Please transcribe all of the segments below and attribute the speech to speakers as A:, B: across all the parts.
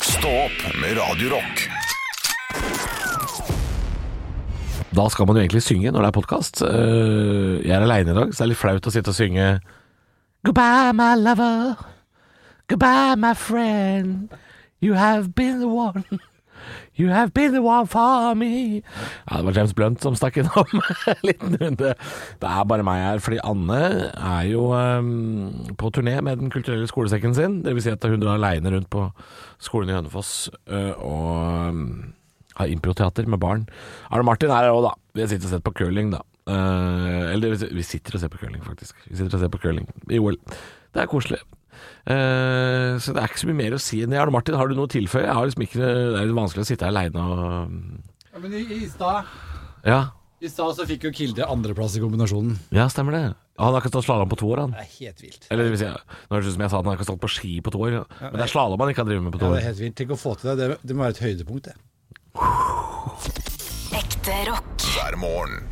A: Stå opp med Radio Rock.
B: Da skal man jo egentlig synge når det er podkast. Jeg er aleine i dag, så det er litt flaut å sitte og synge Goodbye, my lover. Goodbye, my friend. You have been the one. You have been the one for me. Ja, det var James Blunt som stakk innom en liten runde. Det er bare meg her, fordi Anne er jo ehm, på turné med Den kulturelle skolesekken sin. Det vil si at hun drar aleine rundt på skolen i Hønefoss eh, og ehm, har improteater med barn. Arne Martin er her òg, da. Vi har sittet og sett på curling, da. Eh, eller det vil si- vi sitter og ser på curling, faktisk. Vi sitter og ser på curling i OL. Det er koselig. Eh, så det er ikke så mye mer å si enn det. Arne Martin, har du noe å tilføye? Jeg har liksom ikke, det er litt vanskelig å sitte aleine og
C: Ja, men i, i stad
B: Ja,
C: I stad så fikk jo Kilde andreplass i kombinasjonen.
B: ja stemmer det. Han har ikke stått slalåm på to år, han.
C: Det er helt vilt.
B: Eller det vil si, nå høres det ut som jeg sa at han har ikke stått på ski på to år. Men det er slalåm han ikke har drevet med på
C: Ja,
B: to
C: det er
B: år.
C: helt vilt. Tenk å få til det. Det, det må være et høydepunkt, det.
D: Ekte rock.
A: hver morgen.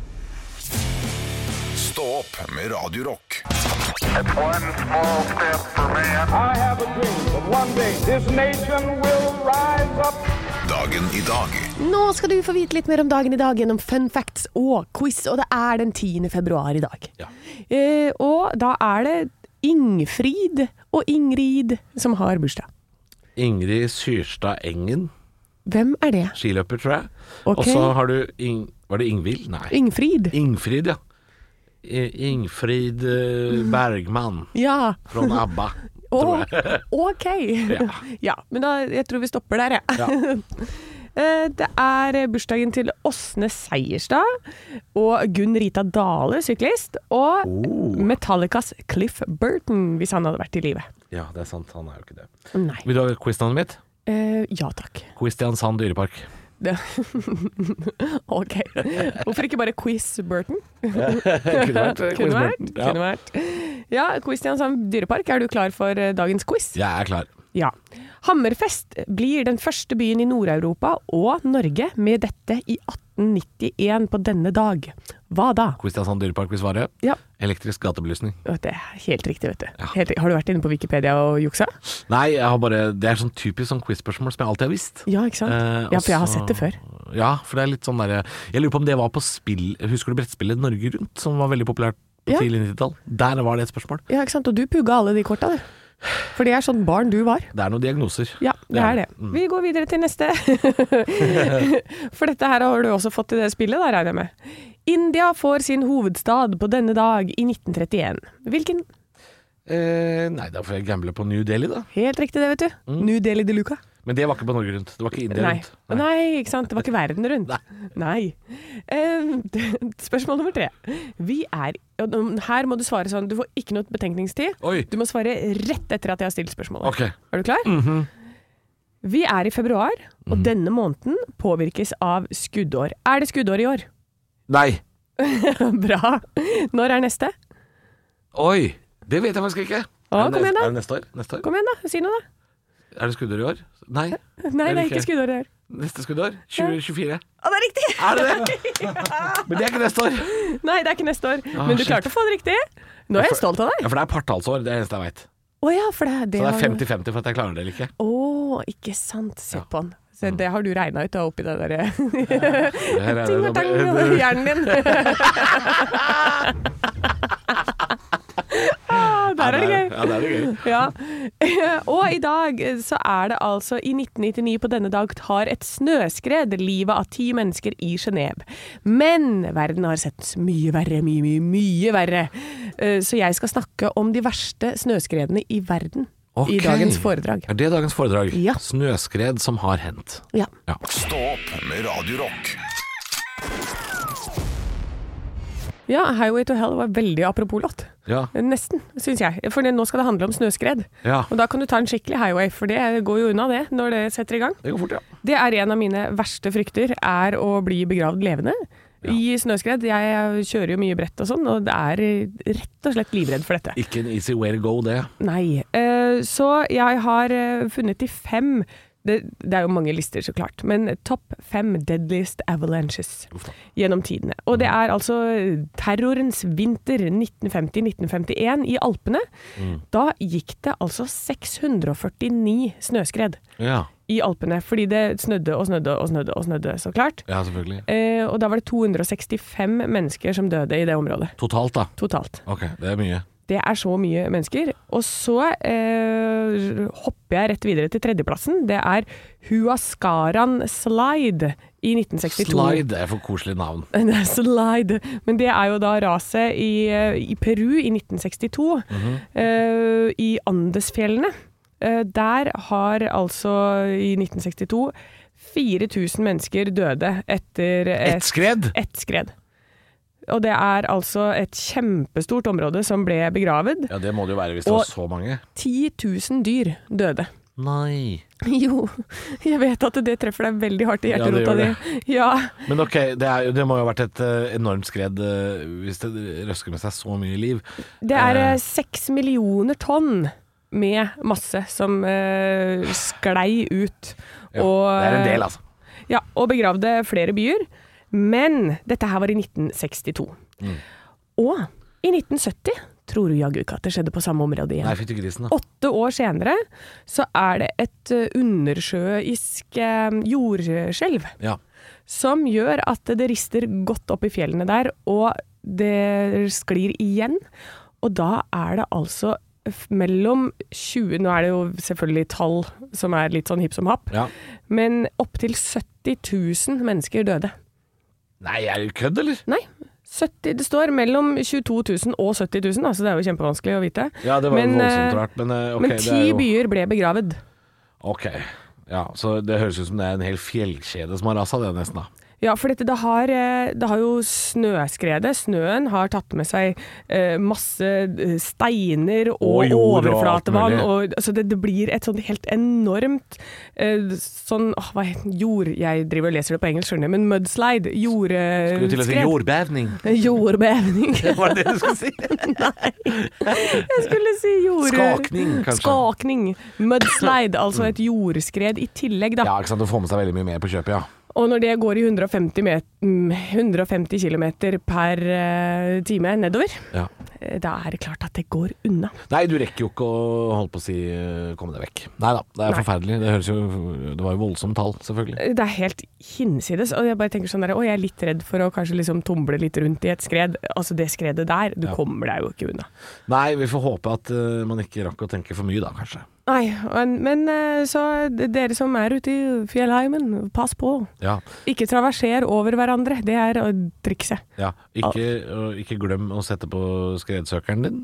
A: Stå opp med Radio Rock.
E: One small step for man.
F: I have a dream that one day this nation will rise up.
A: Dagen i dag
G: Nå skal du få vite litt mer om dagen i dag gjennom fun facts og quiz, og det er den 10. februar i dag.
B: Ja.
G: Eh, og da er det Ingfrid og Ingrid som har bursdag.
B: Ingrid Syrstad Engen,
G: Hvem er det?
B: skiløper, tror jeg.
G: Ok.
B: Og så har du Ing... Var det Ingvild? Nei.
G: Ingfrid?
B: Ingfrid, ja. I- Ingfrid eh, Bergman
G: Ja.
B: fra ABBA.
G: Å,
B: tror jeg.
G: ok.
B: Ja.
G: ja. Men da, jeg tror vi stopper der, jeg. Eh, Det er bursdagen til Åsne Seierstad og Gunn Rita Dale, syklist, og Metallicas Cliff Burton, hvis han hadde vært i live.
B: Ja, det er sant. Han er jo ikke det.
G: Nei.
B: Vil du ha quiznavnet mitt?
G: Eh, ja takk.
B: Quistiansand dyrepark.
G: Det. ok. Hvorfor ikke bare quiz Burton?
B: Kunne vært.
G: Kunne vært.
B: Ja.
G: Kunne vært. Ja, Quistiansand dyrepark, er du klar for eh, dagens quiz?
B: Jeg er klar.
G: Ja. Hammerfest blir den første byen i Nord-Europa og Norge med dette i 1891 på denne dag. Hva da?
B: Quistiansand dyrepark vil svare.
G: Ja,
B: Elektrisk gatebelysning.
G: å, det er helt riktig, vet du. Helt, har du vært inne på Wikipedia og juksa?
B: Nei, jeg har bare, det er sånn typisk sånn quiz-spørsmål som jeg alltid har visst.
G: Ja, ikke sant?
B: Eh,
G: ja, for jeg har
B: også-
G: sett det før.
B: Ja, for det er litt sånn derre Jeg lurer på om det var på spill Husker du brettspillet Norge Rundt, som var veldig populært på
G: Ja.
B: tidlig 90-tall? Der var det et spørsmål.
G: Ja, ikke sant? Og du pugga alle de korta, du. For det er sånn barn du var.
B: Det er noen diagnoser.
G: Ja, Mm. det er det. Vi går videre til neste. For dette her har du også fått i det spillet, da, regner jeg med. India får sin hovedstad på denne dag i 1931. Hvilken?
B: Eh, nei, da får jeg gamble på New Delhi, da.
G: Helt riktig det, vet du. New Delhi de Luca.
B: Men det var ikke på Norge Rundt. Det var ikke India
G: Mm. Nei.
B: Rundt.
G: Nei, ikke sant. Det var ikke verden rundt. Nei. Eh, spørsmål nummer tre. Vi er og nå- Her må du svare sånn. Du får ikke noe betenkningstid.
B: Oi.
G: Du må svare rett etter at jeg har stilt spørsmålet.
B: Ok.
G: Er du klar?
B: Mhm.
G: Vi er i februar, og denne måneden påvirkes av skuddår. Er det skuddår i år?
B: Nei.
G: Bra. Når er neste?
B: Oi! Det vet jeg faktisk ikke.
G: Å,
B: Er det
G: kom igjen
B: neste-
G: da.
B: Er det neste år? Neste år?
G: Kom igjen, da. Si noe, da.
B: Er det skuddår i år? Nei.
G: Nei,
B: Er
G: det er
B: det
G: ikke
B: ikke?
G: skuddår i år.
B: Neste skuddår? 2024.
G: Å, det er riktig!
B: Er det det? Men det er ikke neste år.
G: Nei, det er ikke neste år.
B: Ah,
G: Men du
B: shit.
G: klarte å få det riktig. Nå er jeg stolt
B: Ja,
G: av deg.
B: For det er partallsår, det er det eneste jeg veit.
G: Å ja, for det,
B: Så det
G: har
B: er
G: jo-
B: 50-50 for at jeg klarer det eller ikke.
G: Å, ikke sant. Se på han. Se,
B: Mm.
G: det har du regna ut da, oppi det eh, derre
B: Her er det
G: ting og tang
B: noe-
G: og hjernen din. Ah, Der er
B: Ja,
G: det gøy.
B: det er det gøy.
G: Ja. Og i dag så er det altså I 1999 på denne dag tar et snøskred livet av ti mennesker i Genéve. Men verden har sett mye verre, mye, mye, mye verre. Eh, Så jeg skal snakke om de verste snøskredene i verden
B: Ok.
G: i dagens foredrag.
B: Er det dagens foredrag?
G: Ja.
B: Snøskred som har hendt.
G: Ja.
B: Ja.
A: Stå opp med Radio Rock.
G: Ja, 'Highway to Hell' var veldig apropos låt.
B: ja.
G: Nesten, syns jeg. For det- nå skal det handle om snøskred.
B: Ja.
G: Og da kan du ta en skikkelig highway, for det går jo unna det når det setter i gang.
B: Det går fort, ja.
G: Det er en av mine verste frykter, er å bli begravd levende i snøskred. Jeg kjører jo mye brett og sånn, og det er rett og slett livredd for dette.
B: Ikke en easy way to go, det.
G: Nei. Eh, så jeg har eh, funnet de fem det, det er jo mange lister, så klart, men topp fem deadliest avalanches gjennom tidene. Og det er altså terrorens vinter 1950-1951 i Alpene. Da gikk det altså 649 snøskred
B: Ja.
G: i Alpene, fordi det snødde og snødde og snødde, og snødde, så klart.
B: Ja, selvfølgelig.
G: Eh, og da var det 265 mennesker som døde i det området,
B: Totalt, da.
G: totalt.
B: Ok, det er mye.
G: Det er så mye mennesker. Og så eh, hopper jeg rett videre til tredjeplassen. Det er Huascaran Slide i 1962.
B: Slide er for koselig navn.
G: Det er slide. Men det er jo da raset i, eh, i Peru i 1962,
B: Mhm.
G: eh, i Andesfjellene. Eh, der har altså i 1962 4000 mennesker døde etter
B: Et
G: et,
B: skred!
G: et skred. Og det er altså et kjempestort område som ble begravet.
B: Ja, det må det jo være hvis det
G: Og-
B: var så mange.
G: 10 000 dyr døde.
B: Nei.
G: Jo, jeg vet at det treffer deg veldig hardt i
B: Ja, det
G: hjerterota
B: gjør
G: di. Ja,
B: Men ok, det, er, jo- det må jo ha vært et eh, enormt skred eh, hvis det røsker med seg så mye liv.
G: Det er
B: Eh.
G: eh, seks millioner tonn med masse som eh, sklei ut.
B: Ja, det er en del, altså.
G: Ja, og begravde flere byer. Men dette her var i 1962.
B: Mm.
G: Og i 1970 tror du jaggu ikke at det skjedde på samme område igjen.
B: Nei, fytti grisen, da.
G: Åtte år senere så er det et eh, undersjøisk eh, jordskjelv
B: Ja.
G: som gjør at det rister godt opp i fjellene der, og det sklir igjen. Og da er det altså f- mellom 20 Nå er det jo selvfølgelig tall som er litt sånn hipp som happ,
B: ja.
G: men opptil 70 000 mennesker døde.
B: Nei, er du kødd, eller?
G: Nei, 70, det står mellom 22 000 og 70 000, da, så det er jo kjempevanskelig å vite.
B: Ja, det var
G: Men,
B: jo
G: eh,
B: voldsomt rart, men eh, ok.
G: Men
B: det
G: ti
B: er jo-
G: byer ble begravet.
B: Ok. Ja, så det høres ut som det er en hel fjellkjede som har rasa det, nesten, da.
G: Ja, for dette, det, har, eh, det har jo snøskredet. Snøen har tatt med seg eh, masse eh, steiner og,
B: Og jord og alt
G: overflatevann.
B: mulig.
G: Og, altså det, det blir et sånn helt enormt eh, sånn åh, hva heter det? Jord... Jeg driver og leser det på engelsk, skjønner jeg, men mudslide. Eh,
B: Skulle til å si
G: Jordskred.
B: jordbevning.
G: Jordbevning.
B: Var det det du skulle si?
G: Jeg skulle si jord...
B: Skakning, kanskje.
G: Skakning. Mudslide, altså et jordskred i tillegg, da.
B: Ja, ikke sant. Du får med seg veldig mye mer på kjøpet, ja.
G: Og når det går i 150, met- mm, 150 km per eh, time nedover,
B: ja.
G: eh, da er det klart at det går unna.
B: Nei, du rekker jo ikke å holde på å si eh, komme deg vekk. Nei da, det er
G: Nei.
B: forferdelig. Det høres jo Det var jo voldsomt tall, selvfølgelig.
G: Det er helt hinsides. Og jeg bare tenker sånn der, å, jeg er litt redd for å kanskje liksom tumble litt rundt i et skred. Altså det skredet der, du kommer deg jo ikke unna.
B: Nei, vi får håpe at eh, man ikke rakk å tenke for mye da, kanskje.
G: Nei, men, men eh, så d- dere som er ute i fjellheimen, pass på.
B: Ja.
G: Ikke traverser over hverandre, det er eh, trikset.
B: ja. Ikke, og ikke glem å sette på skredsøkeren din.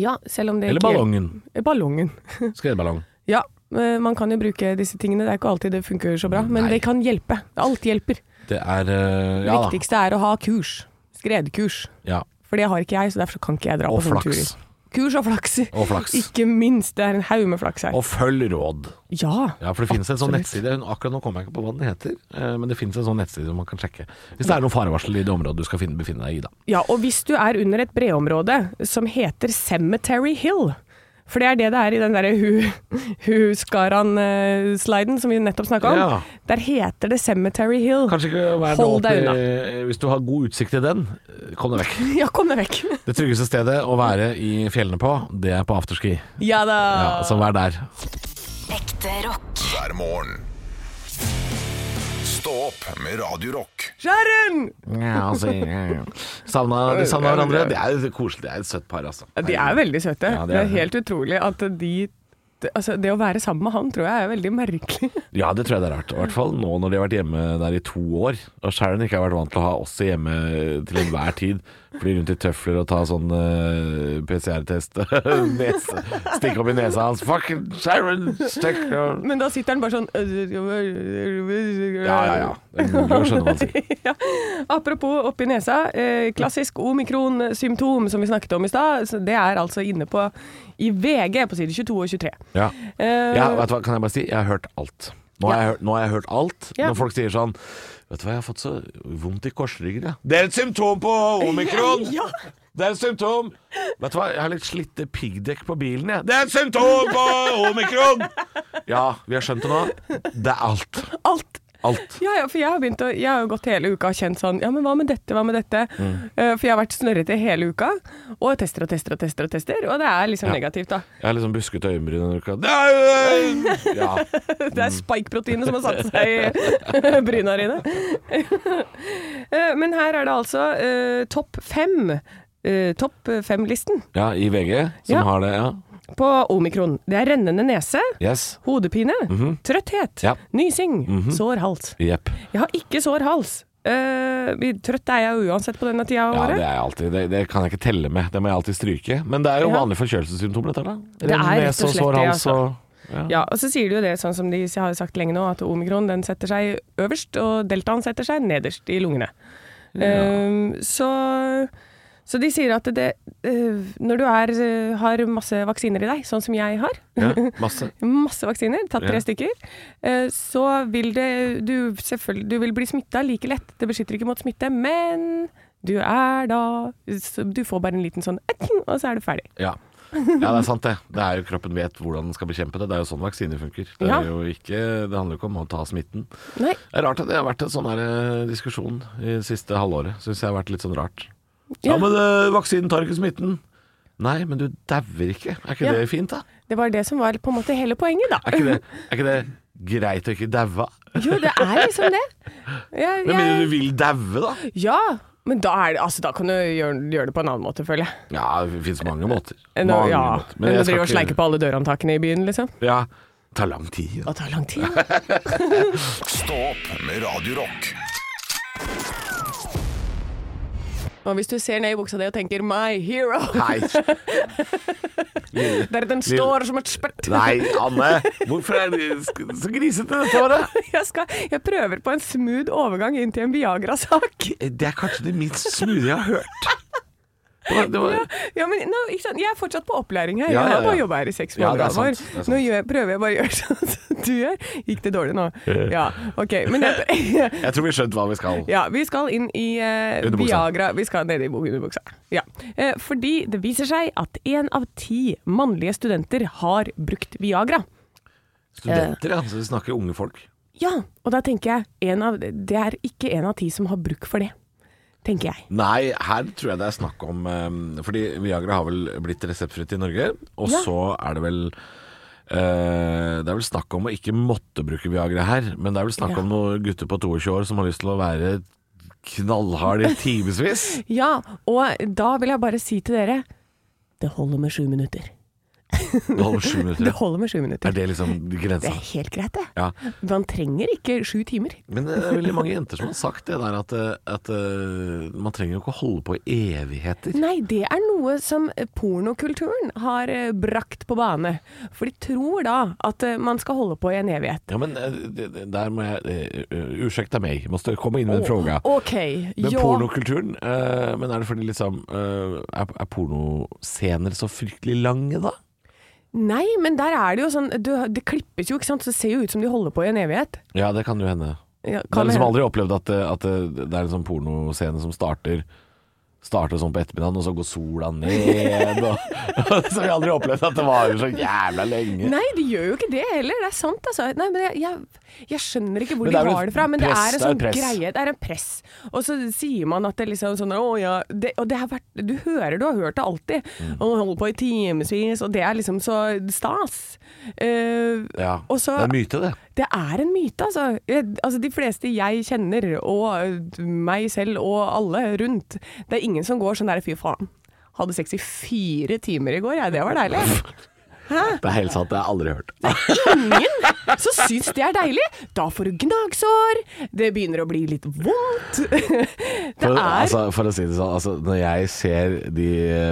G: Ja, selv om det
B: Eller
G: ikke
B: ballongen.
G: Eh, Ballongen.
B: Skredballong.
G: Ja, eh, man kan jo bruke disse tingene. Det er ikke alltid det funker så bra, men
B: Nei.
G: det kan hjelpe. Alt hjelper.
B: Det er eh,
G: Det
B: Ja da.
G: viktigste er å ha kurs. Skredkurs.
B: Ja.
G: For det har ikke jeg, så derfor kan ikke jeg dra
B: Og
G: på sånne turer.
B: flaks.
G: Kurs og flaks.
B: Og flaks.
G: Ikke minst. Det er en haug med flaks her.
B: Og følg råd.
G: Ja.
B: Ja, for det finnes en sånn
G: Absolutt.
B: nettside Akkurat nå kommer jeg ikke på hva den heter, eh, men det finnes en sånn nettside som man kan sjekke. Hvis det er noe farevarsel i det området du skal finne, befinne deg i, da.
G: ja. Og hvis du er under et breområde som heter Cemetery Hill for det er det det er i den derre hu, Huskaran-sliden som vi nettopp snakka om.
B: Ja.
G: Der heter det Cemetery Hill.
B: Kanskje ikke vær
G: Hold
B: nå
G: deg
B: alltid- Hvis du har god utsikt til den, eh, kom deg vekk.
G: Ja, kom deg vekk.
B: Det tryggeste stedet å være i fjellene på, det er på afterski.
G: Ja da.
B: Ja, altså- så vær der.
D: Ekte rock.
A: hver morgen. Stå opp med Radio Rock.
G: Sharon!
B: Ja, altså, ja, ja. Savna, de savna hverandre. Det er koselig. Det er et søtt par, altså.
G: Ja, De er veldig søte.
B: Ja, de
G: det, er
B: er det.
G: helt utrolig at de det- Altså, det å være sammen med han tror jeg er veldig merkelig.
B: Ja, det tror jeg det er rart. I hvert fall nå når de har vært hjemme der i to år. Og Sharon ikke har vært vant til å ha oss hjemme til enhver tid. Fly rundt i tøfler og ta sånn eh, PCR-test. Nese. Stikke opp i nesa hans. Fuck Sharon! Stick. Ja,
G: Men da sitter han bare sånn
B: ja, ja. Det er mulig å skjønne hva han sier.
G: Ja. Apropos oppi nesa, eh, klassisk omikron-symptom som vi snakket om i stad, så det er altså inne på i VG på side 22 og 23.
B: Ja.
G: Eh,
B: Ja, vet du hva, kan jeg bare si? Jeg har hørt alt. Nå har,
G: Ja.
B: jeg, hørt, nå har jeg hørt alt.
G: Ja.
B: Når folk sier sånn Vet du hva, jeg har fått så vondt i korsryggen, jeg. Det er et symptom på omikron!
G: Ja.
B: Det er et symptom! Vet du hva, jeg har litt slitte piggdekk på bilen, jeg. Det er et symptom på omikron! Ja, vi har skjønt det nå. Det er alt.
G: alt.
B: Alt.
G: Ja, ja, for jeg har, begynt å, jeg har jo gått hele uka og kjent sånn Ja, men hva med dette, hva med dette?
B: Mm.
G: Eh, for jeg har vært snørrete hele uka, og tester og tester og tester, og tester, og det er liksom negativt, da.
B: Jeg har liksom buskete øyenbryn denne uka. Det er jo- Ja.
G: Det er spike-proteinet som har satt seg i bryna dine. Eh, men her er det altså eh, topp fem. eh, topp fem-listen
B: ja, i VG, som
G: Ja.
B: har det. Ja.
G: på omikron. Det er rennende nese,
B: Yes.
G: hodepine, trøtthet,
B: Mhm. Ja. Mhm.
G: nysing, sår hals.
B: Jepp.
G: Jeg har ikke sår hals. Eh, trøtt er jeg uansett på denne tida av
B: Ja,
G: året.
B: det er jeg alltid. Det, det kan jeg ikke telle med. Det må jeg alltid stryke. Men det er jo
G: Ja.
B: vanlige forkjølelsessymptomer, dette her. da.
G: Det er
B: Renn
G: rett og
B: nese
G: slett
B: sår
G: det,
B: hals
G: altså.
B: og- Ja.
G: Ja, og så sier de jo det, sånn som de har sagt lenge nå, at omikron den setter seg øverst, og deltaen setter seg nederst i lungene. Ehm, så, så de sier at det, eh, når du er, eh, har masse vaksiner i deg, sånn som jeg har,
B: Ja, masse.
G: masse vaksiner, tatt tre
B: Ja.
G: stykker, eh, så vil det, du, selvfølgelig- du vil bli smitta like lett. Det beskytter ikke mot smitte, men du er da så Du får bare en liten sånn og så er du ferdig.
B: Ja. ja, det er sant det. Det er jo Kroppen vet hvordan den skal bekjempe det. Det er jo sånn vaksiner funker. Det,
G: Ja.
B: er jo ikke, det handler jo ikke om å ta smitten.
G: Nei,
B: Det er rart at det har vært en sånn her eh, diskusjon i det siste halvåret. Syns jeg har vært litt sånn rart. Ja,
G: Ja.
B: men eh, vaksinen tar ikke smitten. Nei, men du dauer ikke. Er ikke
G: Ja.
B: det fint, da?
G: det var det som var på en måte hele poenget, da.
B: Er ikke det, er ikke det greit å ikke daue?
G: Jo, det er liksom det.
B: Med
G: Jeg,
B: mindre
G: jeg,
B: du vil daue, da.
G: ja, men da, er det, altså, da kan du gjøre, gjøre det på en annen måte, føler jeg.
B: Ja, det fins mange måter.
G: Enn å,
B: Mange
G: ja,
B: måter.
G: enn å
B: jeg skal
G: drive og sleike på alle dørhåndtakene i byen, liksom.
B: Ja, det tar lang tid. da.
G: Det tar lang tid. da.
A: Stå opp med Radio Rock.
G: Og hvis du ser ned i buksa di og tenker 'my hero',
B: Nei,
G: der den står som et spett
B: nei, Anne. Hvorfor er det sk- så grisete dette året?
G: jeg, skal, jeg prøver på en smooth overgang inn til en Viagra-sak.
B: Det er kanskje det minst smoothie jeg har hørt. Det var, det var,
G: Ja, men nå, ikke sant? Jeg er fortsatt på opplæring her.
B: Ja,
G: Jeg
B: ja,
G: har bare
B: ja.
G: jobba her i seks
B: Ja, det er sant.
G: måneder. Alvar.
B: Det er sant.
G: nå gjør, prøver jeg bare å gjøre sånn som du gjør. Gikk det dårlig nå? Ja, OK. Men jeg,
B: jeg tror vi skjønte hva vi skal.
G: Ja, vi skal inn i eh,
B: Underbuksa.
G: Viagra. Vi skal ned i bo- underbuksa. Ja. Eh, fordi det viser seg at én av ti mannlige studenter har brukt Viagra.
B: Studenter, ja. Så vi snakker unge folk.
G: Ja, og da tenker jeg en av, Det er ikke én av ti som har bruk for det, tenker jeg.
B: Nei, her tror jeg det er snakk om eh, Fordi Viagra har vel blitt reseptfritt i Norge, og
G: Ja.
B: så er det vel eh, det er vel snakk om å ikke måtte bruke Viagra her, men det er vel snakk
G: Ja.
B: om noen gutter på 22 år som har lyst til å være knallhard i timevis.
G: Ja, og da vil jeg bare si til dere Det holder med sju minutter.
B: Det holder sju minutter.
G: Det holder med sju
B: Er
G: minutter.
B: det liksom
G: Det
B: grensa?
G: er helt greit, det.
B: Ja.
G: Man trenger ikke sju timer.
B: Men det er veldig mange jenter som har sagt det der at, eh, at eh, man trenger jo ikke å holde på i evigheter.
G: Nei, det er noe som eh, pornokulturen har eh, brakt på bane. For de tror da at eh, man skal holde på i en evighet.
B: Ja, men eh, det- det- der må jeg eh, eh, Ursäkta meg, måste komme in med en fråga.
G: Ok,
B: Men
G: ja.
B: pornokulturen, eh, men er det fordi liksom eh, Er, er pornoscener så fryktelig lange, da?
G: Nei, men der er det jo sånn du, Det klippes jo, ikke sant, så det ser jo ut som de holder på i en evighet.
B: Ja, det kan jo hende.
G: Ja,
B: Jeg har
G: kan
B: liksom
G: hende.
B: aldri opplevd at, eh, at eh, det er en sånn pornoscene som starter Starter sånn på ettermiddagen, og så går sola ned og Så vi har aldri opplevd at det varer så jævla lenge.
G: Nei, de gjør jo ikke det heller. Det er sant, altså. Nei, men jeg, jeg, jeg skjønner ikke hvor
B: Men
G: de
B: det er vel
G: har det fra, men det
B: press,
G: er en
B: det er
G: sånn
B: press.
G: greie. Det er en press. Og så sier man at det liksom sånn Å ja det, Og det har vært Du hører, du har hørt det alltid.
B: Mm.
G: Og man holder på i timevis, og det er liksom så stas. Eh,
B: Ja,
G: og så-
B: Det er myte, det.
G: det er en myte, altså. Jeg, altså. De fleste jeg kjenner, og meg selv og alle rundt, det er ingen som går sånn der fy faen. Hadde sex i fire timer i går, jeg. Det var deilig.
B: Det er helt sant, det har jeg aldri hørt.
G: Ingen som syns det er deilig. Da får du gnagsår, det begynner å bli litt vondt. Det
B: For,
G: er
B: altså, for å si det sånn, altså, når jeg ser de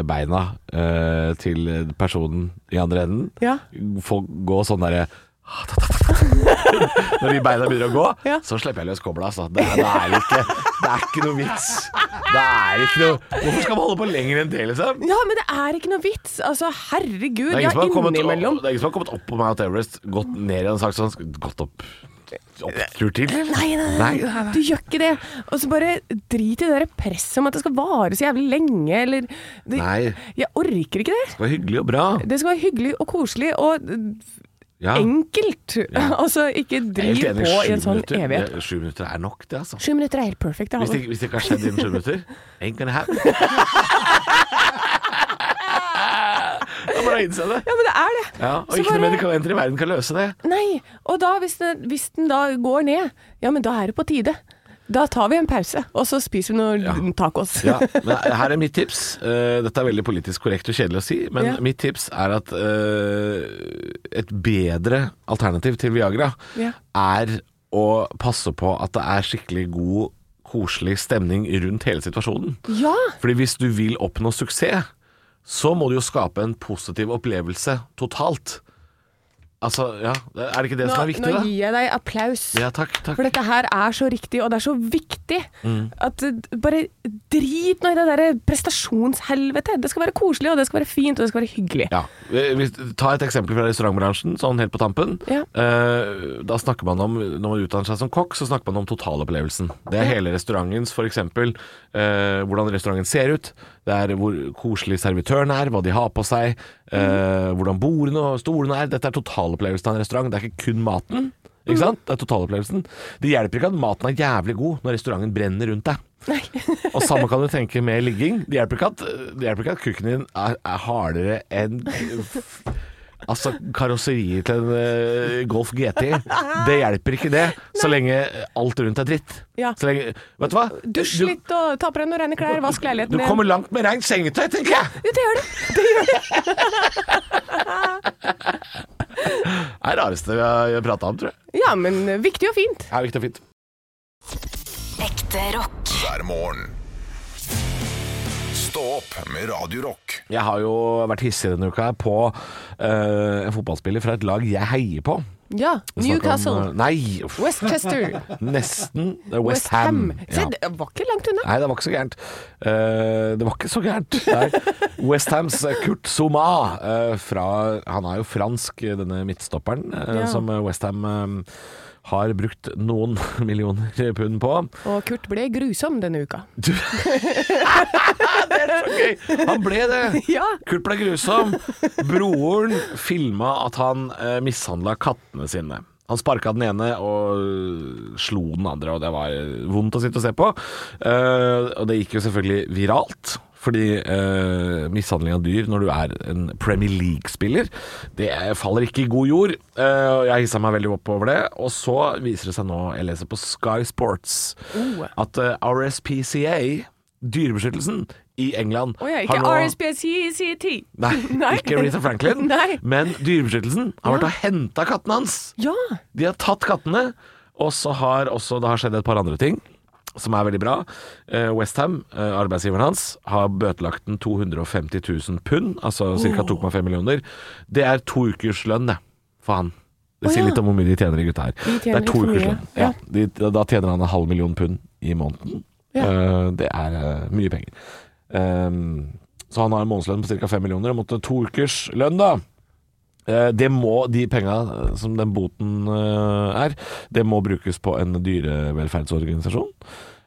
B: beina eh, til personen i andre enden
G: Ja.
B: få gå sånn derre Når de beina begynner å gå,
G: Ja.
B: så slipper jeg løs kobla. Altså. Det, er- det, er ikke, det er ikke noe vits. Det er ikke noe Hvorfor skal man holde på lenger enn det, liksom?
G: Ja, men det er ikke noe vits. Altså, herregud.
B: Det er
G: Ja,
B: ingen som har kommet, det
G: innimellom.
B: er ingen som har kommet opp på Mount Everest, gått ned igjen og sagt sånn Gått opp opptur til?
G: Nei, nei, nei, nei, du gjør ikke det. Og så bare drit i det der presset om at det skal vare så jævlig lenge, eller det,
B: Nei.
G: Jeg orker ikke det.
B: Det var hyggelig og bra.
G: Det skal være hyggelig og koselig, og
B: Ja.
G: enkelt. altså, ikke
B: Jeg er
G: driv
B: helt enig,
G: på
B: sju
G: i en sånn
B: minutter,
G: evighet.
B: det- Sju minutter er nok, det, altså.
G: Sju minutter er helt perfekt. altså.
B: Hvis det,
G: Det,
B: ikke- hvis det ikke har skjedd innen sju minutter Ain't gonna happen. Da må du innse det.
G: ja, men det er det.
B: Ja, og
G: Så
B: ikke noe
G: bare-
B: medikamenter i verden kan løse det.
G: Nei, og da hvis den, hvis den da går ned, ja, men da er det på tide. Da tar vi en pause, og så spiser vi noen tacos.
B: Ja, men her er mitt tips. Eh, Dette er veldig politisk korrekt og kjedelig å si, men
G: Ja.
B: mitt tips er at eh, et bedre alternativ til Viagra
G: Ja.
B: er å passe på at det er skikkelig god, koselig stemning rundt hele situasjonen.
G: Ja,
B: Fordi hvis du vil oppnå suksess, så må du jo skape en positiv opplevelse totalt. Altså, ja Er det ikke det
G: nå,
B: som er viktig,
G: nå
B: da?
G: gir jeg deg applaus.
B: Ja, takk, takk.
G: For dette her er så riktig, og det er så viktig.
B: Mm.
G: At eh, bare drit nå i det derre prestasjonshelvete. Det skal være koselig, og det skal være fint, og det skal være hyggelig.
B: Ja. Eh, hvis- Ta et eksempel fra restaurantbransjen, sånn helt på tampen.
G: Ja.
B: Eh, Da snakker man om, Når man utdanner seg som kokk, så snakker man om totalopplevelsen. Det er hele restaurantens, f.eks. Eh, hvordan restauranten ser ut, det er hvor koselig servitøren er, hva de har på seg, eh, hvordan bordene og stolene er. Dette er totalopplevelsen av en restaurant, det er ikke kun maten. Ikke sant? Det er totalopplevelsen. Det hjelper ikke at maten er jævlig god når restauranten brenner rundt deg. Og samme kan du tenke med ligging. Det hjelper ikke at, det hjelper ikke at kukken din er, er hardere enn f- Altså karosseriet til en eh, Golf GT. Det hjelper ikke, det. Så lenge alt rundt er dritt.
G: Ja.
B: Så lenge, vet du hva?
G: Dusj
B: Du-
G: litt, og ta på deg noen rene klær, vask
B: Du
G: leiligheten
B: kommer langt med rent sengetøy, tenker jeg!
G: Jo, det gjør det. det, gjør det.
B: Det er det rareste vi har prata om, tror jeg.
G: Ja, men eh, viktig og fint.
B: Ja, viktig og fint.
D: Ekte rock.
A: hver morgen. Stå opp med Radio Rock.
B: Jeg har jo vært hissig denne uka på eh, en fotballspiller fra et lag jeg heier på.
G: Ja.
B: Vi snakker om,
G: Newcastle.
B: eh, nei, uff,
G: Westchester.
B: nesten. Det er
G: West
B: West Ham.
G: Ham. Se, det var ikke langt unna.
B: Nei, det var ikke så gærent. Eh, det var ikke så gærent. Nei. Westhams Kurt Zuma eh, fra, Han er jo fransk, denne midtstopperen, eh,
G: Ja.
B: som Westham har brukt noen millioner pund på.
G: Og Kurt ble grusom denne uka.
B: Gøy! Han ble det!
G: Ja.
B: Kurt ble grusom. Broren filma at han eh, mishandla kattene sine. Han sparka den ene og slo den andre, og det var vondt å sitte og se på. Eh, og det gikk jo selvfølgelig viralt. Fordi eh, mishandling av dyr når du er en Premier League-spiller, det faller ikke i god jord. Eh, og jeg hissa meg veldig opp over det. Og så viser det seg nå, jeg leser på Sky Sports,
G: Oh.
B: at eh, RSPCA, dyrebeskyttelsen i England,
G: Å ja, ikke
B: har nå-
G: RSPCCT.
B: Nei,
G: Nei.
B: ikke Aretha Franklin.
G: Nei.
B: Men Dyrebeskyttelsen har vært og henta kattene hans.
G: Ja.
B: De har tatt kattene, og så har også det har skjedd et par andre ting. Som er veldig bra. Eh, Westham, eh, arbeidsgiveren hans, har bøtelagt den 250 000 pund, altså ca. 2,5 millioner. Det er to ukers lønn, det, for han. Det
G: Å,
B: sier
G: ja.
B: litt om hvor mye de tjener, de gutta her.
G: De
B: Det
G: tjener
B: er to
G: litt for
B: ukers
G: mye,
B: lønn. Ja. De, da tjener han en halv million pund i måneden.
G: Ja.
B: Eh, det er eh, mye penger. Ehm, så han har en månedslønn på ca. 5 millioner og måtte to ukers lønn, da. Eh, Det må, De penga eh, som den boten eh, er, det må brukes på en dyrevelferdsorganisasjon.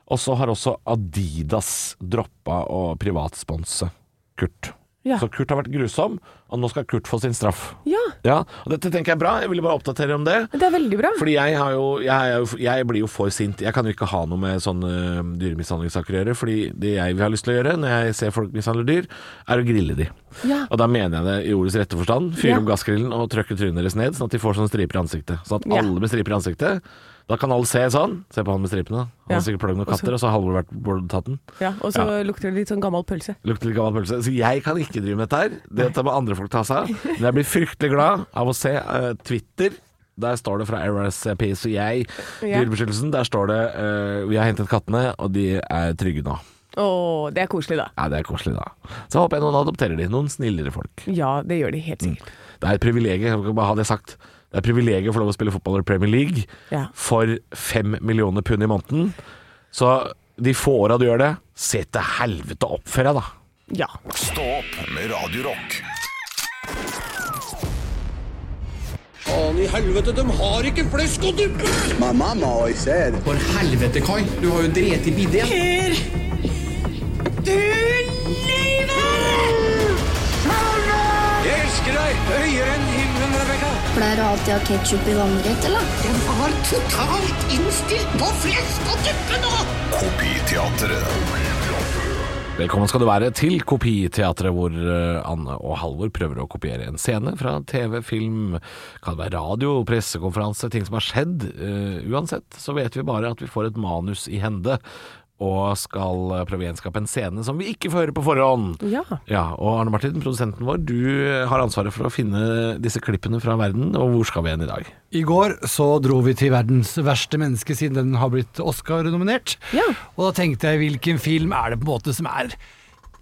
B: Og så har også Adidas droppa å privatsponse Kurt.
G: Ja.
B: Så Kurt har vært grusom, og nå skal Kurt få sin straff.
G: ja.
B: Ja, og Dette tenker jeg er bra, jeg ville bare oppdatere om det.
G: Det er veldig bra.
B: Fordi jeg, har jo, jeg, er jo, jeg blir jo for sint. Jeg kan jo ikke ha noe med sånne ø, dyremishandlingssaker å gjøre. Fordi det jeg har lyst til å gjøre når jeg ser folk mishandle dyr, er å grille de.
G: Ja.
B: Og da mener jeg det i ordets rette forstand. Fyre
G: Ja.
B: opp gassgrillen og trøkke trynet deres ned, sånn at de får sånne striper i ansiktet. Sånn at
G: Ja.
B: alle med striper i ansiktet Da kan alle se sånn. Se på han med stripene. Han
G: Ja.
B: har sikkert plagd noen
G: Og så-
B: katter, og så har Halvor vært Bård tatt den.
G: Ja, og så lukter det litt sånn gammel pølse.
B: Lukter litt gammel pølse. Så jeg kan ikke drive med dette her. Dette må andre folk ta seg av. Men jeg blir fryktelig glad av å se eh, Twitter. Der står det fra RSP, så jeg,
G: Ja.
B: Dyrebeskyttelsen, der står det eh, Vi har hentet kattene, og de er trygge nå.
G: Å, det er koselig, da.
B: Ja, det er koselig, da. Så håper jeg noen adopterer de. Noen snillere folk.
G: Ja, det gjør de helt
B: Mm.
G: sikkert.
B: Det er et privilegium, jeg kan bare ha det sagt. Det er et privilegium å få lov å spille fotball i Premier League
G: Ja.
B: for fem millioner pund i måneden. Så de få åra du gjør det, se til helvete opp for deg, da.
G: Ja.
A: Stå opp med Radio Rock.
H: Jeg elsker deg høyere enn himmelen, Rebekka. Pleier du alltid å ha ketsjup i vannrett, eller?
I: Den var totalt innstilt på flesk og tuppe nå!
A: Kopiteatret.
B: Velkommen skal du være til Kopiteatret, hvor eh, Anne og Halvor prøver å kopiere en scene fra TV, film, kan det være radio, pressekonferanse, ting som har skjedd. Eh, uansett så vet vi bare at vi får et manus i hende, og skal eh, prøve å gjenskape en scene som vi ikke får høre på forhånd.
G: Ja.
B: Ja, og Arne Martin, produsenten vår, du har ansvaret for å finne disse klippene fra verden, og hvor skal vi hen i dag?
C: I går så dro vi til verdens verste menneske, siden den har blitt Oscar-nominert.
G: Ja.
C: Og da tenkte jeg, hvilken film er det på en måte som er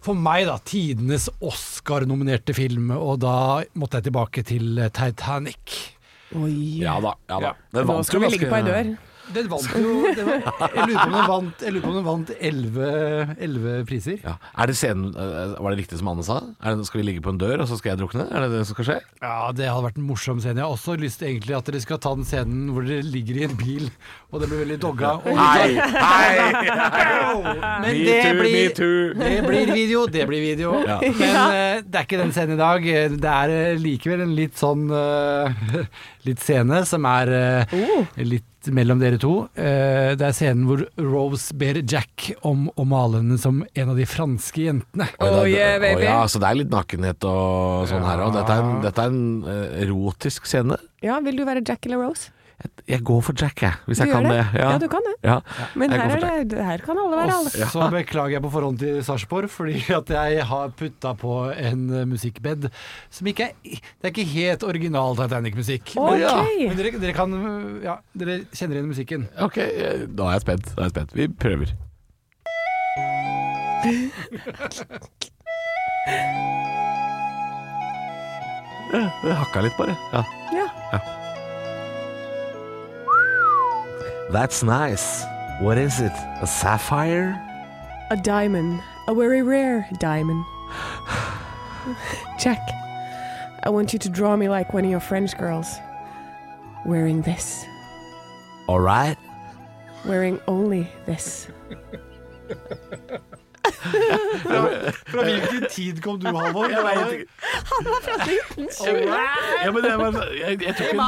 C: for meg, da, tidenes Oscar-nominerte film? Og da måtte jeg tilbake til eh, Titanic.
G: Oi.
B: Ja da, ja da. Den
G: Nå
B: vant
G: skal
B: jo
G: vi ligge på
B: ganske-
G: ei dør.
C: Den vant jo det var, Jeg lurer på om den vant- jeg lurer på om den vant elleve priser.
B: Ja. Er det scenen, eh, var det riktig som Anne sa? Er det, skal vi ligge på en dør, og så skal jeg drukne? Er det det som skal skje?
C: Ja, det hadde vært en morsom scene. Jeg har også lyst til egentlig at dere skal ta den scenen hvor dere ligger i en bil, og det blir veldig dogga. Og Men
B: Me
C: det
B: too, me
C: blir,
B: too.
C: det blir video, det blir video.
B: Ja.
C: Men eh, det er ikke den scenen i dag. Det er eh, likevel en litt sånn eh, litt scene som er eh, litt mellom dere to. Eh, det er scenen hvor Rose ber Jack om å male henne som en av de franske jentene.
B: Oi,
G: Oh,
B: da-
G: yeah, baby.
B: Å, ja, så det er litt nakenhet og sånn her òg. Dette er en, dette er en eh, erotisk scene.
G: Ja, vil du være Jack eller Rose?
B: Jeg, jeg går for Jack, jeg, hvis
G: Du
B: jeg
G: gjør
B: kan det.
G: det? Ja, du kan det.
B: Ja,
G: Men
B: jeg
G: her,
B: går for Jack.
G: er det, her kan alle være
C: Og
G: alle.
C: så beklager jeg på forhånd til Sarpsborg, fordi at jeg har putta på en eh, musikkbed som ikke er Det er ikke helt original Titanic-musikk.
G: Ok.
C: Men, men dere, dere kan eh, Ja, dere kjenner igjen musikken.
B: Ok, eh, da er jeg spent. Da er jeg spent. Vi prøver. Ja, Det hakka litt, bare. Ja.
G: Ja.
B: That's nice. What is it? A sapphire?
G: A diamond. A very rare diamond. Jack, I want you to draw me like one of your French girls. Wearing this.
B: All right.
G: Wearing only this.
C: Fra hvilken tid kom du, Halvor? Jeg vet ikke.
B: Ja, men jeg, var- jeg, jeg, tok en,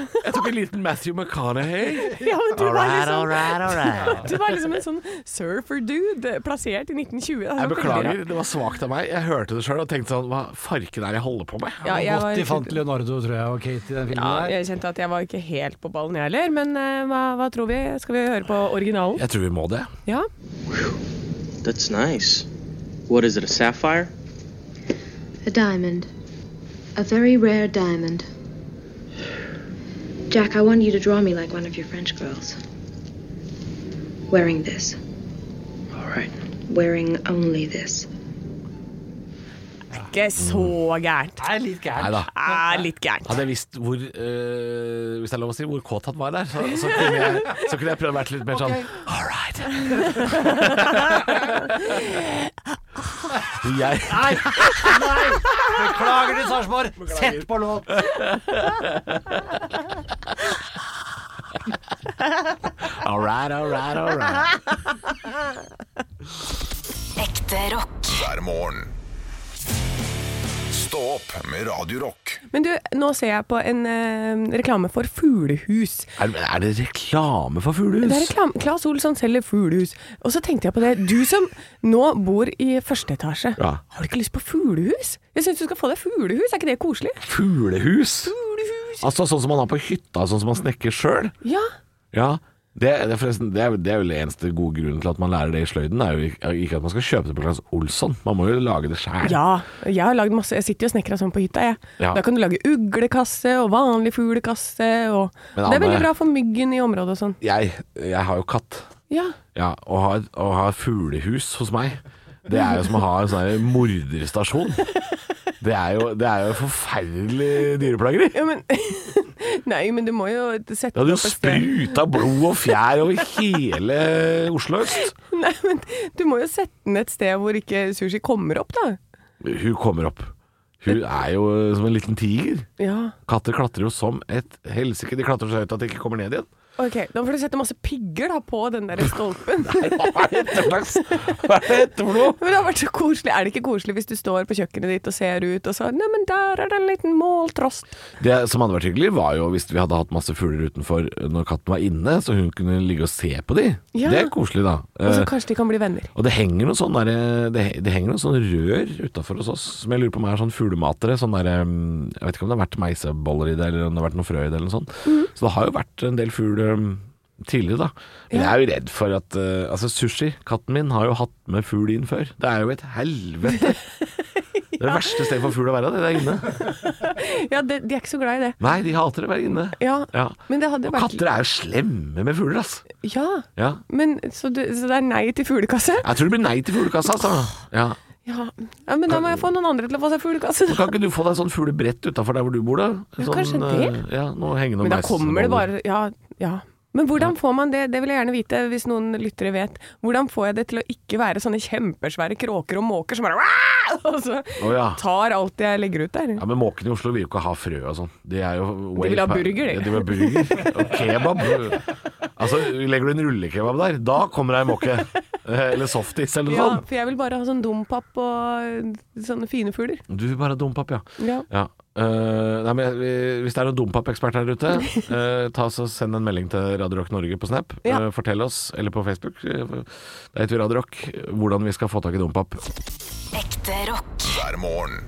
B: jeg tok en liten Matthew McConaughey.
G: Ja, men du, var liksom,
B: right, all right.
G: du var liksom en sånn surfer-dude plassert i 1920. Det var
B: Jeg
G: veldig
B: beklager,
G: rart.
B: det var svakt av meg. Jeg hørte det sjøl og tenkte sånn Hva farken er jeg holder på med?
G: Ja, jeg
C: Godt de
G: var,
C: fant Leonardo, tror jeg, og Kate i den filmen
G: ja,
C: der.
G: jeg kjente at jeg var ikke helt på ballen, jeg heller. Men eh, hva, hva tror vi? Skal vi høre på originalen?
B: Jeg tror vi må det.
G: Ja.
J: That's nice. What is it, a sapphire?
K: A diamond. A very rare diamond. Jack, I want you to draw me like one of your French girls. Wearing this.
J: All right.
K: Wearing only this.
G: Ikke så gærent.
C: Det er litt
B: Nei
C: gærent.
B: da.
G: Ah, litt gærent.
B: Hadde jeg visst hvor eh, Hvis det er lov å si hvor kåt han var der, så, så, kunne, jeg, så kunne jeg prøvd å være litt mer sånn All right. Jeg
C: Nei! Nei! Beklager til Sarpsborg. Sett på låt.
B: All right, all right, all right.
D: Ekte rock.
A: hver morgen. Stå opp med Radio Rock.
G: Men du, nå ser jeg på en eh, reklame for fuglehus.
B: Er, er det reklame for fuglehus?
G: Det er reklame, Claes Olsson selger fuglehus. Og så tenkte jeg på det, du som nå bor i første etasje,
B: Ja.
G: har du ikke lyst på fuglehus? Jeg syns du skal få deg fuglehus, er ikke det koselig?
B: Fuglehus?
G: Fuglehus.
B: Altså sånn som man har på hytta, sånn som man snekker sjøl?
G: Ja.
B: Ja. Det, det, er forresten, det, er, det er vel eneste gode grunnen til at man lærer det i sløyden. Det er jo ikke- ikke at man skal kjøpe det på Claes Olsson, man må jo lage det sjæl.
G: ja. Jeg har lagd masse, jeg sitter jo og snekrer sånn på hytta, jeg.
B: Ja.
G: Da kan du lage uglekasse og vanlig fuglekasse og
B: Men
G: Det er
B: Anne-
G: veldig bra for myggen i området og sånn.
B: Jeg, jeg har jo katt,
G: Ja.
B: ja, og har, og har fuglehus hos meg. Det er jo som å ha en sånn her morderstasjon. Det er jo, det er jo forferdelig dyreplageri.
G: ja men Nei, men du må jo sette
B: Det hadde jo
G: opp et sted.
B: spruta blod og fjær over hele Oslo øst.
G: Nei, men du må jo sette den et sted hvor ikke sushi kommer opp, da.
B: Hun kommer opp. Hun er jo som en liten tiger.
G: Ja.
B: Katter klatrer jo som et helsike. De klatrer så høyt at de ikke kommer ned igjen.
G: Ok, Da får du sette masse pigger da på den der stolpen.
B: Hva er dette slags Hva er dette for noe?
G: Men det har vært så koselig. Er det ikke koselig hvis du står på kjøkkenet ditt og ser ut og så Nei, men der er det en liten måltrost.
B: Det som hadde vært hyggelig, var jo hvis vi hadde hatt masse fugler utenfor når katten var inne, så hun kunne ligge og se på de.
G: Ja.
B: Det er koselig, da.
G: Og så
B: Eh,
G: kanskje de kan bli venner.
B: Og det henger noen sånne, der, det, det henger noen sånne rør utafor hos oss, som jeg lurer på om er sånn fuglematere. Sånn der, um, jeg vet ikke om det har vært meiseboller i det, eller om det har vært noe frø i det, eller noe sånt.
G: Mhm.
B: Så det har jo vært en del fugl um, tidligere, da. Men jeg er jo redd for at uh, Altså, Sushi, katten min, har jo hatt med fugl inn før. Det er jo et helvete. Det er det verste stedet for fugl å være, det der inne.
G: Ja, det, De er ikke så glad i det.
B: Nei, de hater det å være inne.
G: Ja,
B: Ja.
G: Men det hadde
B: Og
G: vært
B: katter er jo slemme med fugler, ass.
G: Ja,
B: Ja.
G: men så, du, så det er nei til fuglekasse?
B: Jeg tror det blir nei til fuglekassa, altså. Ja.
G: Ja. ja, men da må jeg få noen andre til å få seg fuglekasse.
B: Men Kan ikke du få deg sånn fuglebrett utafor der hvor du bor, da?
G: Ja,
B: sånn,
G: kanskje det.
B: eh, Ja, nå henger noen
G: Men da
B: meiseboller.
G: kommer det bare Ja. ja. Men hvordan får man det, det vil jeg gjerne vite hvis noen lyttere vet. Hvordan får jeg det til å ikke være sånne kjempesvære kråker og måker som bare «Wah!» Og så
B: Å, ja.
G: tar alt jeg legger ut der.
B: Ja, Men måkene i Oslo vil jo ikke ha frø og sånn. De er jo way
G: vil ha
B: pa-
G: burger, de.
B: Ja, de vil ha burger. Og kebab. Altså, legger du en rullekebab der, da kommer ei måke. Eh, Eller softis eller noe
G: Ja,
B: sånt.
G: for jeg vil bare ha sånn dompap og eh, sånne fine fugler.
B: Du vil bare ha dompap, ja.
G: Ja.
B: ja. Eh, nei, men eh, Hvis det er noen dompapekspert her ute, eh, ta så send en melding til Radio Rock Norge på Snap.
G: Ja.
B: Eh, fortell oss, eller på Facebook, eh, da heter vi Radio Rock, hvordan vi skal få tak i dompap.
D: Ekte rock.
A: hver morgen.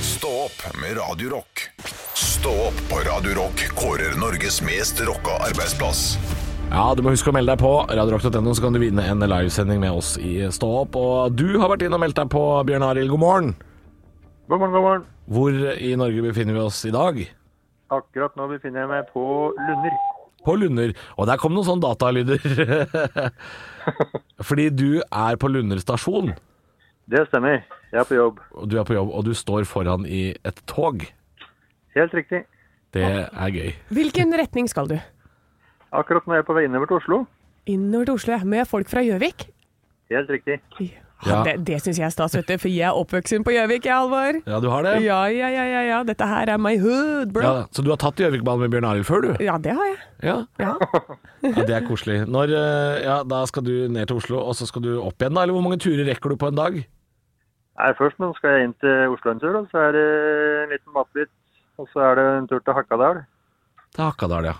A: Stå opp med Radio Rock. Stå opp på Radio Rock kårer Norges mest rocka arbeidsplass.
B: Ja, du må huske å melde deg på. Radiorock.no, så kan du vinne en livesending med oss i Stå opp. Og du har vært inne og meldt deg på, Bjørn Arild. God morgen.
L: God morgen, god morgen.
B: Hvor i Norge befinner vi oss i dag?
L: Akkurat nå befinner jeg meg på Lunder.
B: På Lunder. Og der kom noen sånne datalyder. Fordi du er på Lunder stasjon,
L: Det stemmer. Jeg er på jobb.
B: og du er på jobb, og du står foran i et tog.
L: Helt riktig.
B: Det er gøy.
G: Hvilken retning skal du?
L: Akkurat nå er jeg på vei innover til Oslo.
G: Innover til Oslo, ja. Med folk fra Gjøvik? Ah,
L: Helt riktig.
B: Ja.
G: Det, det syns jeg er stas, vet du, for jeg er oppvokst på Gjøvik, jeg, Alvor.
B: Ja, du har det?
G: Ja, ja, ja, ja, ja. Dette her er my hood, bro.
B: Ja, så du har tatt Gjøvikbanen med Bjørn Arild før, du?
G: Ja, det har jeg.
B: Ja.
G: Ja.
B: Ja, Det er koselig. Når, eh, ja, da skal du ned til Oslo, og så skal du opp igjen, da? Eller hvor mange turer rekker du på en dag?
L: Nei, først nå skal jeg inn til Oslo en tur, og så er det en liten matbit. Og så er det en tur til Hakadal.
B: Til Hakadal, ja.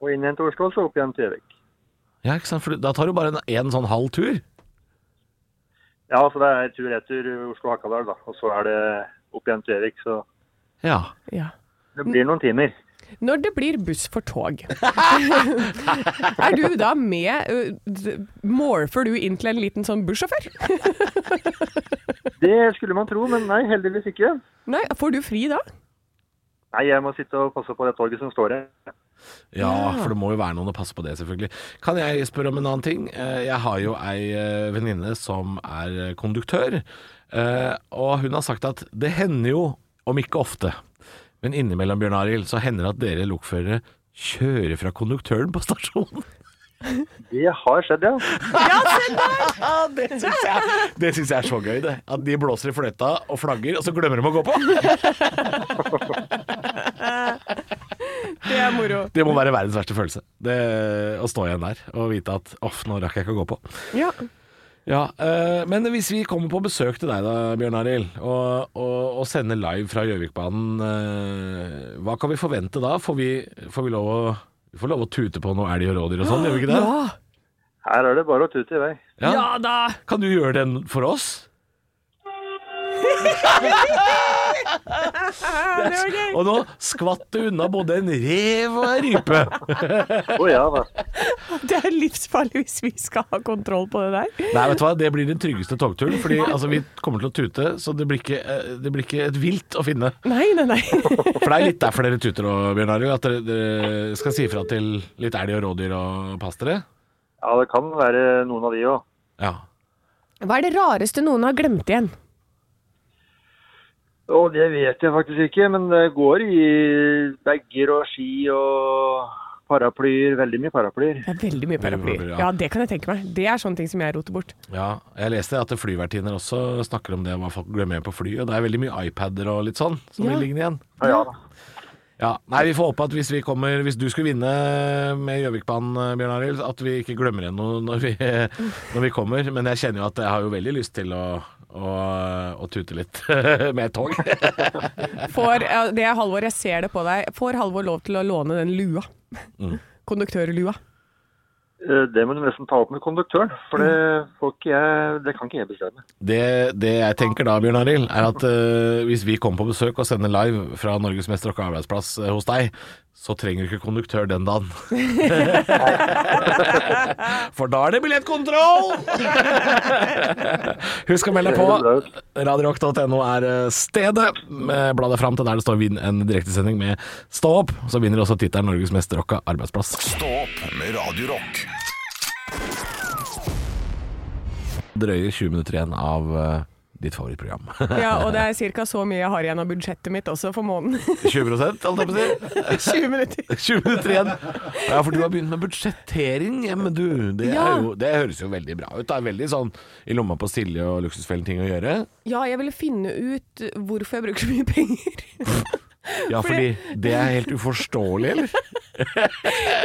L: Og inn igjen til Oslo, og så opp igjen til Gjøvik.
B: Ja, ikke sant? For da tar du bare en, en sånn halv tur.
L: Ja, så det er tur-retur Oslo-Hakadal, da. Og så er det opp igjen til Gjøvik, så
B: Ja.
G: Ja.
L: det blir noen timer.
G: Når det blir buss for tog, er du da med ø, d- Morfer du inn til en liten sånn bussjåfør?
L: Det skulle man tro, men nei, heldigvis ikke.
G: Nei, får du fri da?
L: Nei, jeg må sitte og passe på det toget som står her.
B: Ja, for det må jo være noen å passe på det, selvfølgelig. Kan jeg spørre om en annen ting? Eh, Jeg har jo ei eh, venninne som er eh, konduktør, eh, og hun har sagt at det hender jo, om ikke ofte, men innimellom, Bjørn Arild, så hender det at dere lokførere kjører fra konduktøren på stasjonen.
L: Det har skjedd, ja.
B: Det syns jeg, det synes jeg er så gøy, det. At de blåser i fløyta og flagger, og så glemmer de å gå på.
G: Det er moro.
B: Det må være verdens verste følelse. Det, å stå igjen der og vite at off, nå rakk jeg ikke å gå på.
G: Ja.
B: Ja, eh, Men hvis vi kommer på besøk til deg da, Bjørn Arild, og, og, og sender live fra Gjøvikbanen, eh, hva kan vi forvente da? Får vi, får vi, lov, å, vi får lov å tute på noe elg og rådyr og sånn, gjør vi ikke det?
G: Ja.
L: Her er det bare å tute i vei.
B: Ja.
G: ja da!
B: Kan du gjøre den for oss?
G: Ah, Det var gøy.
B: Og nå skvatt det unna både en rev og en rype.
L: Å ja da.
G: Det er livsfarlig hvis vi skal ha kontroll på det der.
B: Nei, vet du hva, det blir den tryggeste togturen, fordi altså, vi kommer til å tute, så det blir ikke, eh, det blir ikke et vilt å finne.
G: Nei, nei, nei.
B: For det er litt derfor dere tuter nå, Bjørn Arild, at dere, dere skal si ifra til litt elg og rådyr og pass dere.
L: Ja, det kan være noen av de òg.
B: Ja.
G: Hva er det rareste noen har glemt igjen?
L: Og det vet jeg faktisk ikke, men det går i bager og ski og paraplyer. Veldig mye paraplyer.
G: Det er veldig mye
B: Veldig
G: paraply.
B: mye paraply, ja.
G: Ja, det kan jeg tenke meg. Det er sånne ting som jeg roter bort.
B: ja. Jeg leste at flyvertinner også snakker om det hva folk glemmer igjen på fly, og det er veldig mye iPader og litt sånn som
G: Ja.
B: blir liggende igjen.
L: Ja, ja da.
B: Ja, nei, Vi får håpe at hvis, vi kommer, hvis du skulle vinne med Gjøvikbanen, eh, Bjørn Arild, at vi ikke glemmer igjen noe når vi, når vi kommer. Men jeg kjenner jo at jeg har jo veldig lyst til å, å, å tute litt med et tog.
G: Får, ja, det er Halvor, jeg ser det på deg. Får Halvor lov til å låne den lua? Konduktørlua.
L: Eh, Det må du nesten ta opp med konduktøren, for det, får ikke jeg, det kan ikke jeg bestemme.
B: Det, det jeg tenker da, Bjørn Arild, er at eh, hvis vi kommer på besøk og sender live fra Norges mest rocka arbeidsplass eh, hos deg, så trenger du ikke konduktør den dagen. For da er det billettkontroll! Husk å melde deg på. Radiorock.no er eh, stedet. Eh, Bla deg fram til der det står 'vinn en direktesending' med 'Stå opp', så vinner også tittelen 'Norges mest rocka arbeidsplass'.
A: Stå opp med Radio Rock.
B: Drøye 20 minutter igjen av eh, ditt favorittprogram.
G: Ja, og det er ca. så mye jeg har igjen av budsjettet mitt også for måneden.
B: 20 holdt jeg på å si.
G: 20 minutter.
B: 20 minutter igjen. Ja, for du har begynt med budsjettering hjemme, du. Det,
G: Ja.
B: er jo, det høres jo veldig bra ut. Det er veldig sånn i lomma på Silje og luksusfellen ting å gjøre.
G: Ja, jeg ville finne ut hvorfor jeg bruker så mye penger.
B: Ja, fordi det er helt uforståelig, eller?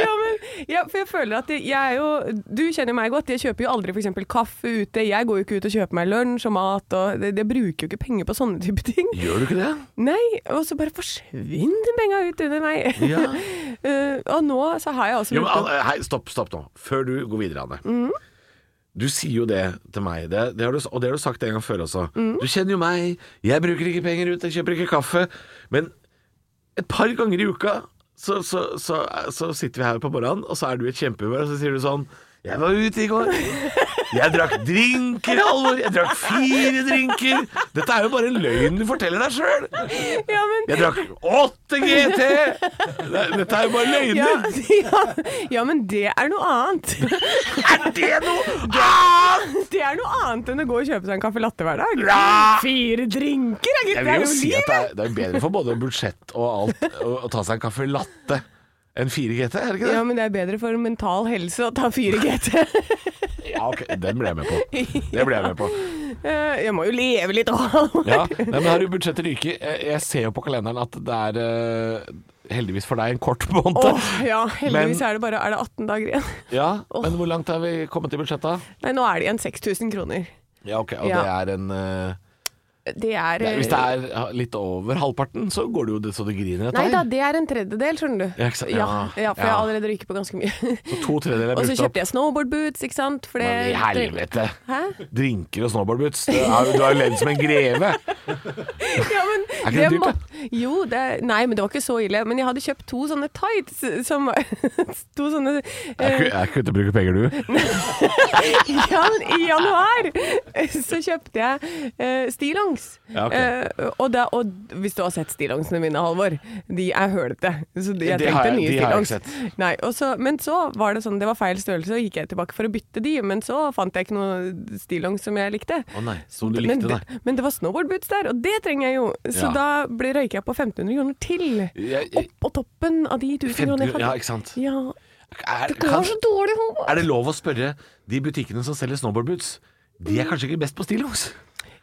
G: Ja, men, ja, for jeg føler at jeg er jo Du kjenner meg godt. Jeg kjøper jo aldri f.eks. kaffe ute. Jeg går jo ikke ut og kjøper meg lunsj og mat. Og det, det bruker jo ikke penger på sånne type ting.
B: Gjør du ikke det?
G: Nei, og så bare forsvinner penga ut under meg.
B: Ja.
G: Eh, og nå så har jeg også
B: Jo, men,
G: brukt opp-
B: Anne, hei, stopp, stopp nå. Før du går videre, Anne.
G: Mm.
B: Du sier jo det til meg, det, det har du, og det har du sagt en gang før også. Du kjenner jo meg, jeg bruker ikke penger ut, jeg kjøper ikke kaffe. Men et par ganger i uka så, så, så, eh, så sitter vi her på morgenen, og så er du i et kjempehumør, og så sier du sånn Jeg var ute i går. Jeg drakk drinker, Halvor. Jeg drakk fire drinker. Dette er jo bare en løgn du forteller deg sjøl.
G: Ja, men
B: Jeg drakk åtte GT. Dette er jo bare løgner.
G: Ja, ja, ja, men det er noe annet.
B: Er det noe
G: annet?! Det er noe annet enn å gå og kjøpe seg en caffè latte hver dag.
B: Ja.
G: Fire drinker, ja, gitt.
B: Jeg
G: Det
B: vil
G: er
B: jo
G: jo
B: si at det er, det er bedre for både budsjett og alt å, å ta seg en kaffe latte enn 4 GT, er det ikke det?
G: Ja, men det er bedre for mental helse å ta 4 GT.
B: Ja, ok, den ble jeg med på. Det ble jeg med på.
G: Eh, Jeg må jo leve litt òg.
B: Ja, nei, men her i budsjettet ryker. Jeg, jeg ser jo på kalenderen at det er eh, heldigvis for deg en kort måned.
G: ja, heldigvis
B: Men-
G: er det bare er det 18 dager igjen.
B: Ja, men hvor langt er vi kommet i budsjettet?
G: Nei, nå er det igjen 6000 kroner.
B: Ja, ok, og det
G: Ja.
B: er en eh,
G: Det er, eh,
B: det er, Hvis det er litt over halvparten, så går det jo det, så det griner
G: Nei
B: etter
G: da, det er en tredjedel, skjønner du.
B: Ja, ikke sant?
G: ja,
B: Ja,
G: ja, for jeg
B: ja.
G: har allerede ryket på ganske mye.
B: Så to tredjedeler er
G: Og så
B: brukt opp.
G: kjøpte jeg snowboardboots, ikke sant. For det
B: Men i helvete!
G: Eh, Hæ?
B: Drinker og snowboardboots. Du har du har jo levd som en greve.
G: Ja, men,
B: Er ikke det dyrt, da?
G: må- Jo, det er, nei, men det var ikke så ille. Men jeg hadde kjøpt to sånne tights som To sånne
B: Jeg, ku-
G: eh,
B: jeg kunne ikke bruke penger, du.
G: ja, men I januar så kjøpte jeg eh, stillongs.
B: Ja, ok.
G: Eh, og, da, og hvis du har sett stillongsene mine, Halvor, de er hølete. Så de, jeg
B: Det har jeg-
G: trengte nye
B: de har jeg ikke
G: stillongs. Nei, og så- men så var det sånn, det var feil størrelse, og gikk jeg tilbake for å bytte de, men så fant jeg ikke noe stillongs som jeg likte.
B: Å nei, som du
G: men,
B: likte,
G: det-
B: nei.
G: men det var snowboardboots der, og det trenger jeg jo. Så
B: Ja.
G: da ble, røyker jeg på 1500 kroner til.
B: Jeg- jeg-
G: Opp på toppen av de 1000 kronene
B: 1500,
G: jeg hadde.
B: ja, ikke sant.
G: Ja.
B: Er,
G: Det går
B: kan,
G: så dårlig, Håvard.
B: er det lov å spørre de butikkene som selger snowboardboots? De er kanskje ikke best på stillongs?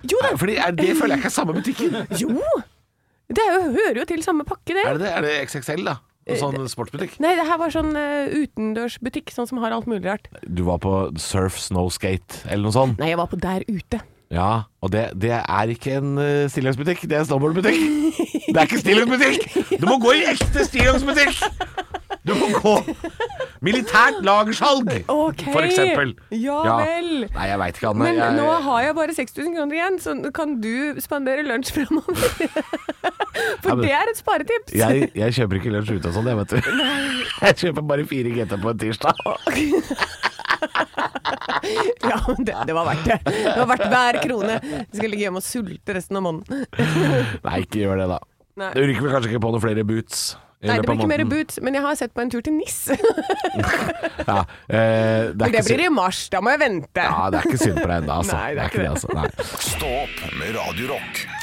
G: Jo da.
B: Er- Fordi er, Det føler jeg ikke er samme butikken.
G: Jo! Det er jo, hører jo til samme pakke, det.
B: Er det det? Er det XXL, da?
G: Eh,
B: En sånn sportsbutikk?
G: Nei, det her var sånn eh, utendørsbutikk, sånn som har alt mulig rart.
B: Du var på Surf Snowskate eller noe sånt?
G: Nei, jeg var på der ute.
B: Ja, og det, det er ikke en eh, stillongsbutikk, det er en snowboardbutikk. Det er ikke stillongsbutikk! Du må gå i ekte stillongsbutikk! Du må gå militært lagersalg,
G: Ok.
B: for eksempel.
G: Ja vel.
B: Nei, jeg veit ikke, Anne.
G: Men
B: jeg,
G: nå har jeg bare 6000 kroner igjen, så kan du spandere lunsj framover?
B: Ja,
G: For
B: men-
G: det er et sparetips.
B: jeg, jeg kjøper ikke lunsj ute og sånn, jeg, vet du. Jeg kjøper bare fire GT på en tirsdag.
G: Ja, men det, det var verdt det. Det var verdt hver krone. Du skal ligge hjemme og sulte resten av måneden.
B: Nei, ikke gjør det, da.
G: Nei.
B: Du rykker vel kanskje ikke på noen flere boots? i
G: Nei, det
B: løpet av
G: blir ikke mer
B: måneden?
G: boots, men jeg har sett på en tur til NIS.
B: Ja, eh, det, er
G: Men det
B: ikke
G: blir
B: synd.
G: i mars, da må jeg vente.
B: ja, det er ikke synd på deg ennå, altså.
G: Nei,
B: det er ikke det, altså. Nei.
A: Stå opp med Radio Rock.